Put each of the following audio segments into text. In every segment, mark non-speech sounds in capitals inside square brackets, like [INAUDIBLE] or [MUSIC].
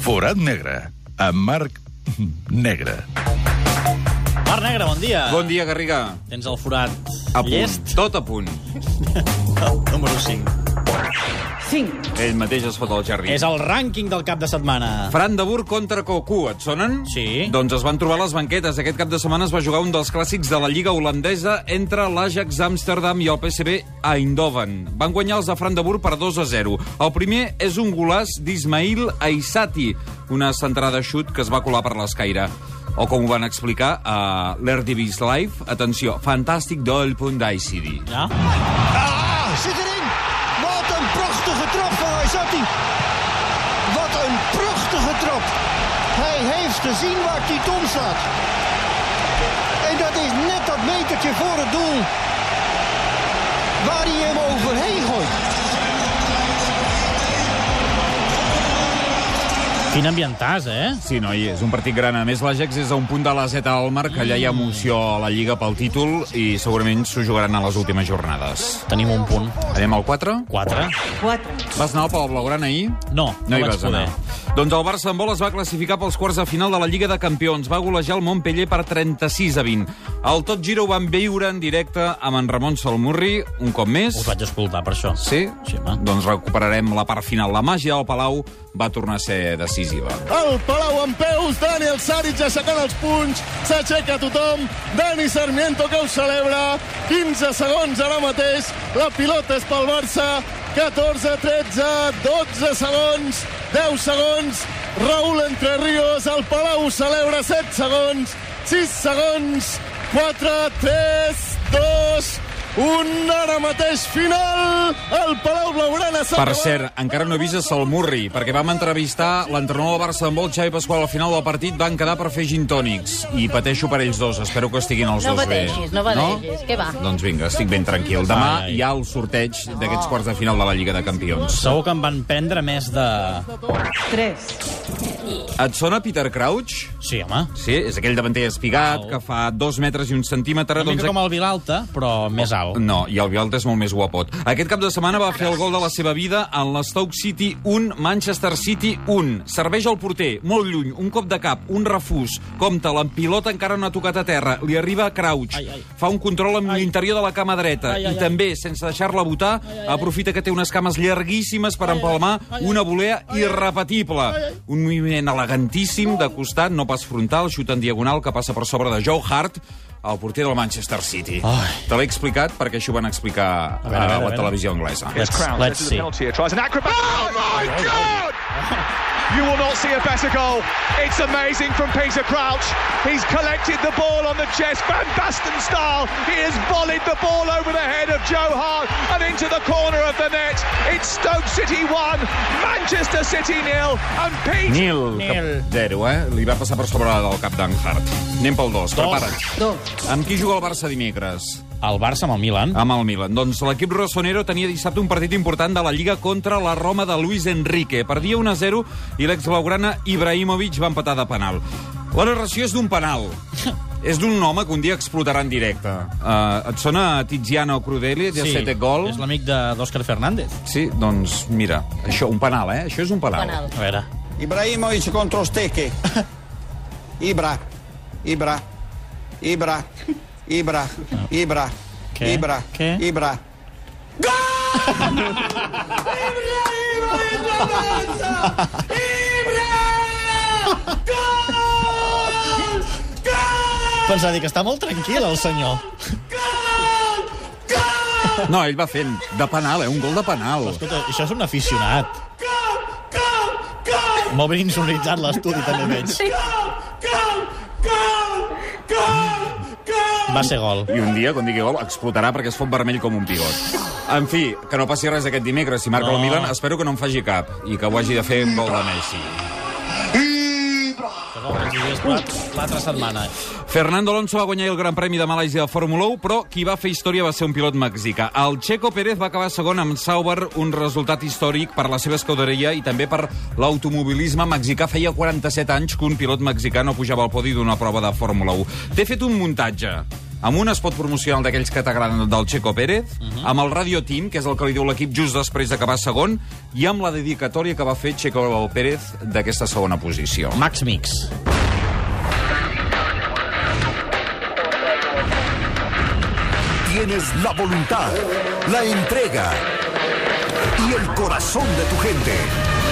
Forat negre, amb Marc Negre. Marc Negre, bon dia. Bon dia, Garriga. Tens el forat A punt, llest, tot a punt. el número 5. 5. Ell mateix es fot al jardí. És el rànquing del cap de setmana. Brandenburg contra Cocú, et sonen? Sí. Doncs es van trobar les banquetes. Aquest cap de setmana es va jugar un dels clàssics de la Lliga holandesa entre l'Ajax Amsterdam i el PSV a Eindhoven. Van guanyar els de Brandenburg per 2 a 0. El primer és un golaç d'Ismail Aissati, una centrada xut que es va colar per l'escaire. O com ho van explicar a l'Erdivis Live, atenció, fantàstic del punt d'ICD. Ja? Ah, zit erin! Wat een prachtige trap van Aysati. Wat een prachtige trap. Hij heeft gezien waar Titon staat. En dat is net dat metertje voor het doel. Waar hij hem overheen gooit. Quin ambientàs, eh? Sí, noi, és un partit gran. A més, l'Àgex és a un punt de la Z al marc, allà hi ha emoció a la Lliga pel títol i segurament s'ho jugaran a les últimes jornades. Tenim un punt. Anem al 4? 4. 4. Vas anar al Palau Blaugrana ahir? No, no, hi vaig vas anar. poder. Doncs el Barça en vol es va classificar pels quarts de final de la Lliga de Campions. Va golejar el Montpellier per 36 a 20. El Tot Giro ho van viure en directe amb en Ramon Salmurri, un cop més. Us vaig escoltar, per això. Sí? Sí, home. doncs recuperarem la part final. La màgia del Palau va tornar a ser decisiva. El Palau en peus, Daniel Saric aixecant els punys, s'aixeca tothom, Dani Sarmiento que ho celebra, 15 segons ara mateix, la pilota és pel Barça, 14, 13, 12 segons, 10 segons, Raúl Entre Ríos, el Palau ho celebra 7 segons, 6 segons, 4, 3, 2, 1, ara mateix final, el Palau Blaugrana s'ha Per acabat. cert, encara no he vist a Salmurri, perquè vam entrevistar l'entrenador del Barça d'handbol, Xavi Pasqual, al final del partit van quedar per fer gintònics. I pateixo per ells dos, espero que estiguin els No dos bé. pateixis, no pateixis, què va? Doncs vinga, estic ben tranquil. Demà Ai. hi ha el sorteig d'aquests quarts de final de la Lliga de Campions. Segur que em van prendre més de... 3. Et sona Peter Crouch? Sí, home. Sí, és aquell davanter espigat que fa dos metres i un centímetre. Una doncs mica com el Vilalta, però més alt. Oh, No, i el Vialta és molt més guapot. Aquest cap de setmana va fer el gol de la seva vida en l'Stoke City 1, Manchester City 1. Serveix el porter, molt lluny, un cop de cap, un refús. Compte, la pilota encara no ha tocat a terra, li arriba a Crouch. Ai, ai. Fa un control amb l'interior de la cama dreta Ai, ai, i ai. també, sense deixar-la votar, aprofita que té unes cames llarguíssimes per empalmar una volea irrepetible. Un moviment elegantíssim de costat, no pas frontal, xut en diagonal que passa per sobre de Joe Hart, el porter del Manchester City. Ai. Te l'he explicat perquè això ho van explicar a, veure, a veure, a la veure. televisió anglesa. Let's, let's see. Here tries an acrobat. Oh my God! You will not see a better goal. It's amazing from Peter Crouch. He's collected the ball on the chest, Van Basten style. He has volleyed the ball over the head of Joe Hart and into the corner of the net. It's Stoke City one, Manchester City nil, and Pete. Nil, cap zero, eh? Li va passar per sobre del cap d'en Hart. Anem pel dos, prepara't. 2. Amb qui juga el Barça dimecres? El Barça amb el Milan. Amb el Milan. Doncs l'equip rossonero tenia dissabte un partit important de la Lliga contra la Roma de Luis Enrique. Perdia 1-0 i l'exblaugrana Ibrahimovic va empatar de penal. La narració és d'un [LAUGHS] penal. És d'un home que un dia explotarà en directe. Uh, et sona Tiziano Crudeli, de sí, Sete Gol? És l'amic de- d'Òscar Fernández. Sí, doncs mira, això, un penal, eh? Això és un penal. Penal. A veure. Ibrahimovic contro Steke. Ibra. Ibra. Ibra. Ibra. Ibra. Che? Ibra. Che? Ibra. Pensava Doncs dir que està molt tranquil, el senyor. No, ell va fent de penal, eh? Un gol de penal. Escolta, això és un aficionat. M'ha ben insonoritzat l'estudi, també veig. Va ser gol. I un dia, quan digui gol, explotarà perquè es fot vermell com un pigot. En fi, que no passi res aquest dimecres. Si marca No. el Milan, espero que no en faci cap i que ho hagi de fer un gol de Messi. L'altra setmana. Fernando Alonso va guanyar el Gran Premi de Malàisia de Fórmula 1, però qui va fer història va ser un pilot mexicà. El Checo Pérez va acabar segon amb Sauber, un resultat històric per la seva escuderia i també per l'automobilisme mexicà. Feia 47 anys que un pilot mexicà no pujava al podi d'una prova de Fórmula 1. Té fet un muntatge amb un espot promocional d'aquells que t'agraden del Checo Pérez, uh -huh. amb el Radio Team, que és el que li diu l'equip just després d'acabar segon, i amb la dedicatòria que va fer Checo Pérez d'aquesta segona posició. Max Mix. Tienes la voluntad, [LAUGHS] la entrega y el corazón de tu gente.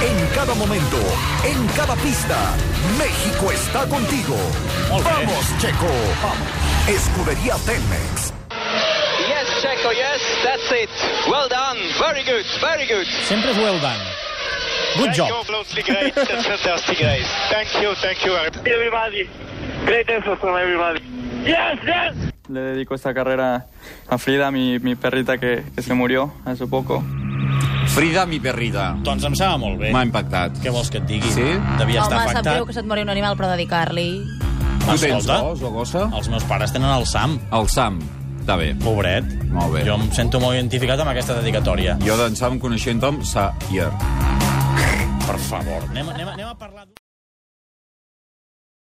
En cada momento, en cada pista, México está contigo. Vamos, Checo. Escudería Telmex. Yes, Checo, yes, that's it. Well done. Very good, very good. Sempre és well done. Good job. Absolutely great. That's fantastic, guys. Thank you, thank you. Everybody. Great effort from everybody. Yes, yes. Le dedico esta carrera a Frida, mi, mi perrita que, que se murió hace poco. Frida, mi perrita. Doncs em sembla molt bé. M'ha impactat. Què vols que et digui? Sí? Devia estar Home, sap greu afectat. que se't mori un animal, però dedicar-li... Tu tens Escolta, gos o gossa? Els meus pares tenen el Sam, El Sam. Està bé. pobret. Molt bé. Jo em sento molt identificat amb aquesta dedicatòria. Jo d'en Sam coneixent-te'm, sa... Yeah. Per favor, anem, anem, anem a parlar...